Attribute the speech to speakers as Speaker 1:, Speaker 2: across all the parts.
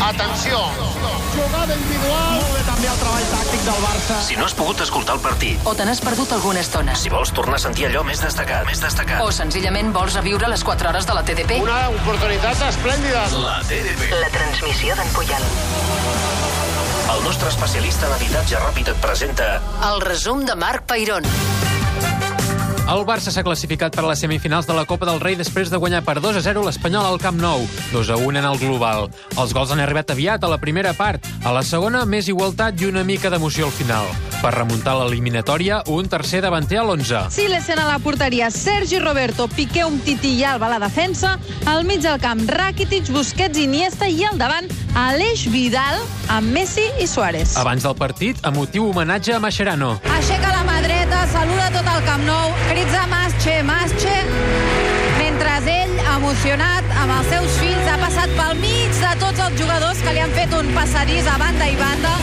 Speaker 1: Atenció!
Speaker 2: Jugada individual. Molt bé també el treball tàctic del Barça.
Speaker 3: Si no has pogut escoltar el partit,
Speaker 4: o te n'has perdut alguna estona,
Speaker 3: si vols tornar a sentir allò més destacat, més destacat,
Speaker 4: o senzillament vols reviure les 4 hores de la TDP,
Speaker 1: Una oportunitat esplèndida.
Speaker 3: la TDP.
Speaker 4: la transmissió d'en Puyol.
Speaker 3: El nostre especialista en habitatge ràpid et presenta
Speaker 4: El resum de Marc Peirón.
Speaker 5: El Barça s'ha classificat per a les semifinals de la Copa del Rei després de guanyar per 2 a 0 l'Espanyol al Camp Nou, 2 a 1 en el global. Els gols han arribat aviat a la primera part, a la segona més igualtat i una mica d'emoció al final. Per remuntar l'eliminatòria, un tercer davanter a l'11.
Speaker 6: Silesen a la porteria, Sergi Roberto, Piqué Umtiti i Alba a la defensa, al mig del camp Rakitic, Busquets, Iniesta i al davant Aleix Vidal amb Messi i Suárez.
Speaker 5: Abans del partit, emotiu homenatge a Mascherano.
Speaker 6: Aixeca la mà dreta, saluda tot el Camp Nou, crits a Masche, Masche, mentre ell, emocionat, amb els seus fills, ha passat pel mig de tots els jugadors que li han fet un passadís a banda i banda.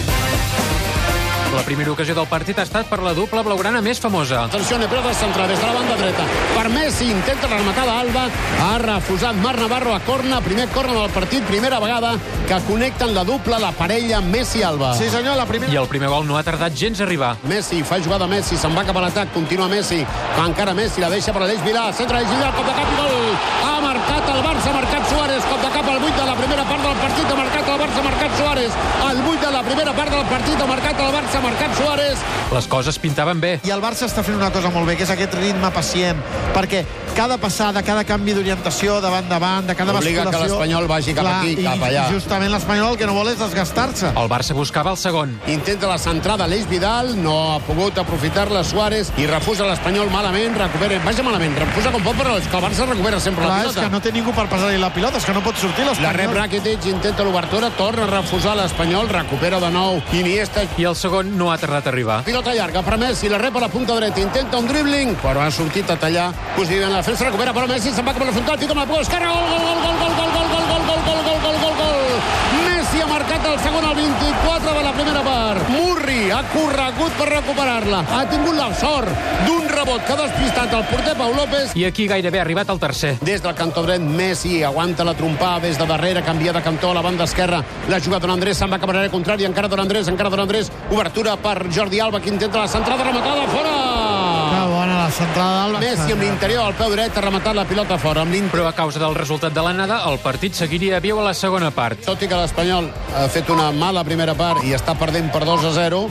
Speaker 5: La primera ocasió del partit ha estat per la dupla blaugrana més famosa.
Speaker 2: Atenció, Nebreda central des de la banda dreta. Per Messi intenta la rematada Alba. Ha refusat Marc Navarro a corna. Primer corna del partit, primera vegada que connecten la dupla, la parella Messi-Alba. Sí, senyor, la primera...
Speaker 5: I el primer gol no ha tardat gens a arribar.
Speaker 2: Messi, fa jugada Messi, se'n va cap a l'atac, continua Messi, va encara Messi, la deixa per Aleix Vilà, centre Aleix Vilà, cop de cap i gol! Ha marcat el Barça, ha marcat Suárez, cop de cap al 8 de la primera part del partit, ha marcat el Barça, ha marcat Suárez, al 8 de la primera part del partit, ha marcat el Barça, ha marcat Suárez,
Speaker 5: Les coses pintaven bé.
Speaker 7: I el Barça està fent una cosa molt bé, que és aquest ritme pacient, perquè cada passada, cada canvi d'orientació, de banda a banda, cada
Speaker 2: Obliga que
Speaker 7: basculació...
Speaker 2: l'Espanyol vagi cap
Speaker 7: Clar,
Speaker 2: aquí,
Speaker 7: i-
Speaker 2: cap allà.
Speaker 7: i Justament l'Espanyol el que no vol és desgastar-se.
Speaker 5: El Barça buscava el segon.
Speaker 2: Intenta la centrada Aleix Vidal, no ha pogut aprofitar-la Suárez i refusa l'Espanyol malament, recupera, vaja malament, refusa com pot, però és que el Barça recupera sempre
Speaker 7: Clar,
Speaker 2: la
Speaker 7: és
Speaker 2: pilota.
Speaker 7: que no té ningú per passar-li la pilota, és que no pot sortir
Speaker 2: La
Speaker 7: l'Espanyol.
Speaker 2: rep Rakitic, intenta l'obertura, torna a refusar l'Espanyol, recupera de nou Iniesta.
Speaker 5: I el segon no ha tardat a arribar.
Speaker 2: Pilota llarga per Messi, la rep a la punta dreta, intenta un dribbling, però ha sortit a tallar. Posició en la defensa, recupera per Messi, se'n va cap a la frontal, pica amb la pos, carga, gol, gol, gol, gol, gol, gol, gol, gol, gol, gol, gol, gol, gol, gol. Messi ha marcat el segon al 24 de la primera part. Murri ha corregut per recuperar-la. Ha tingut la sort d'un rebot que ha despistat el porter Pau López
Speaker 5: I aquí gairebé ha arribat el tercer.
Speaker 2: Des del cantó dret, Messi aguanta la trompada des de darrere, canvia de cantó a la banda esquerra. La juga Don Andrés, se'n va cap a l'àrea contrària, encara Don Andrés, encara Don Andrés. Obertura per Jordi Alba, que intenta la centrada, rematada,
Speaker 7: Que
Speaker 2: fora!
Speaker 7: bona Ah, la centrada d'Alba.
Speaker 2: Messi amb l'interior, al peu dret, ha rematat la pilota fora. Amb l'in-
Speaker 5: Però a causa del resultat de l'anada, el partit seguiria viu a la segona part.
Speaker 2: Tot i que l'Espanyol ha fet una mala primera part i està perdent per 2 a 0,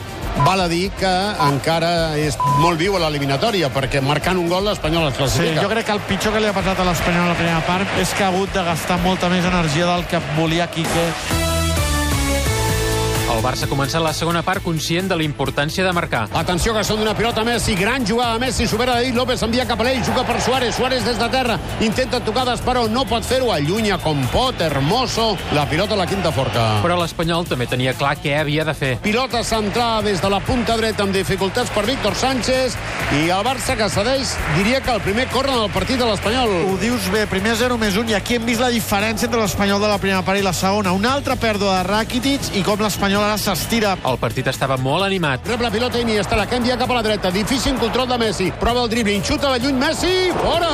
Speaker 2: val a dir que encara és molt viu a l'eliminatòria, perquè marcant un gol l'Espanyol es
Speaker 7: Sí,
Speaker 2: classifica.
Speaker 7: jo crec que el pitjor que li ha passat a l'Espanyol a la primera part és que ha hagut de gastar molta més energia del que volia Quique.
Speaker 5: El Barça ha començat la segona part conscient de la importància de marcar.
Speaker 2: Atenció que són d'una pilota a Messi, gran jugada a Messi, supera David López, envia cap a l'ell, juga per Suárez, Suárez des de terra, intenta tocar d'Esperó, no pot fer-ho, allunya com pot, Hermoso, la pilota a la quinta forca. Però...
Speaker 5: Però l'Espanyol també tenia clar què havia de fer.
Speaker 2: Pilota centrada des de la punta dreta amb dificultats per Víctor Sánchez i el Barça que cedeix, diria que el primer corre del partit de l'Espanyol.
Speaker 7: Ho dius bé, primer 0 més 1 i aquí hem vist la diferència entre l'Espanyol de la primera part i la segona. Una altra pèrdua de Rakitic i com l'Espanyol ara s'estira.
Speaker 5: El partit estava molt animat.
Speaker 2: Rep la pilota Iniesta, la que envia cap a la dreta, difícil control de Messi, prova el dribbling, xuta de lluny Messi, fora!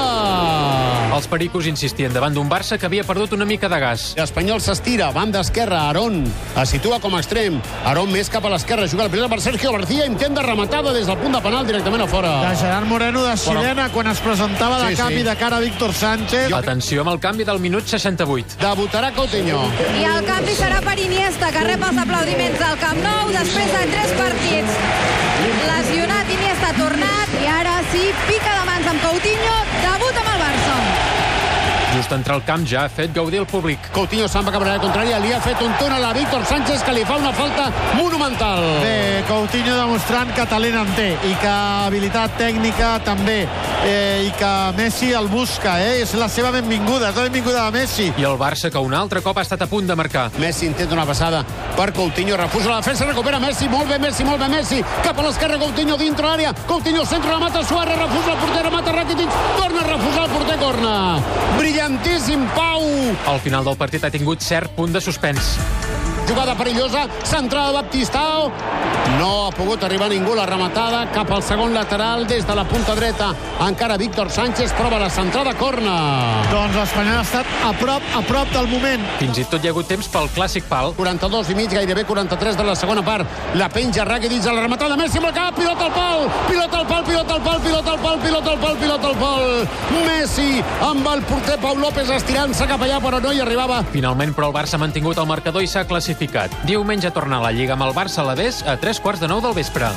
Speaker 5: Els pericos insistien davant d'un Barça que havia perdut una mica de gas.
Speaker 2: L'Espanyol s'estira, banda esquerra, Aarón es situa com a extrem. Aarón més cap a l'esquerra, juga el pilota per Sergio García, intent de rematada des del punt de penal directament a fora.
Speaker 7: De Gerard Moreno de
Speaker 2: Però-
Speaker 7: Xilena quan es presentava de
Speaker 2: Ah. Sí,
Speaker 7: cap
Speaker 2: sí.
Speaker 7: i de cara a Víctor Sánchez.
Speaker 5: Atenció amb el canvi del minut 68.
Speaker 2: Debutarà Coutinho.
Speaker 6: I el canvi serà per Iniesta, que rep els aplaudiments del Camp Nou després de tres partits. Lesionat, Iniesta ha tornat i ara sí, pica de mans amb Coutinho, debut amb el Barça.
Speaker 5: Just entrar al camp ja ha fet gaudir el públic.
Speaker 2: Coutinho se'n va cap a l'àrea contrària, li ha fet un túnel a Víctor Sánchez que li fa una falta monumental.
Speaker 7: Bé, Eh, Coutinho demostrant que talent en té i que habilitat tècnica també eh, i que Messi el busca, eh? és la seva benvinguda, és la benvinguda de Messi.
Speaker 5: I el Barça, que un altre cop ha estat a punt de marcar.
Speaker 2: Messi intenta una passada per Coutinho, refusa la defensa, recupera Messi, molt bé Messi, molt bé Messi, cap a l'esquerra Coutinho dintre l'àrea, Coutinho centra, la mata Suárez, refusa el porter, mata Rakitic, torna a refusar el porter, corna. Brillantíssim, Pau!
Speaker 5: Al final del partit ha tingut cert punt de suspens.
Speaker 2: jugada perillosa, centrada de Baptistao. No ha pogut arribar ningú la rematada cap al segon lateral des de la punta dreta. Encara Víctor Sánchez prova la centrada corna.
Speaker 7: Doncs l'Espanyol ha estat a prop, a prop del moment.
Speaker 5: Fins i tot hi ha hagut temps pel clàssic pal.
Speaker 2: 42 i mig, gairebé 43 de la segona part. La penja Rakitic a la rematada. Messi amb el cap, pilota al pal, pilota al pal, pilota al pal, pilota al pal, pilota al pal, pilota al pal. Messi amb el porter Pau López estirant-se cap allà, però no hi arribava.
Speaker 5: Finalment, però, el Barça ha mantingut el marcador i s'ha classificat. Diumenge torna a la Lliga amb el Barça a la Des a tres quarts de nou del vespre.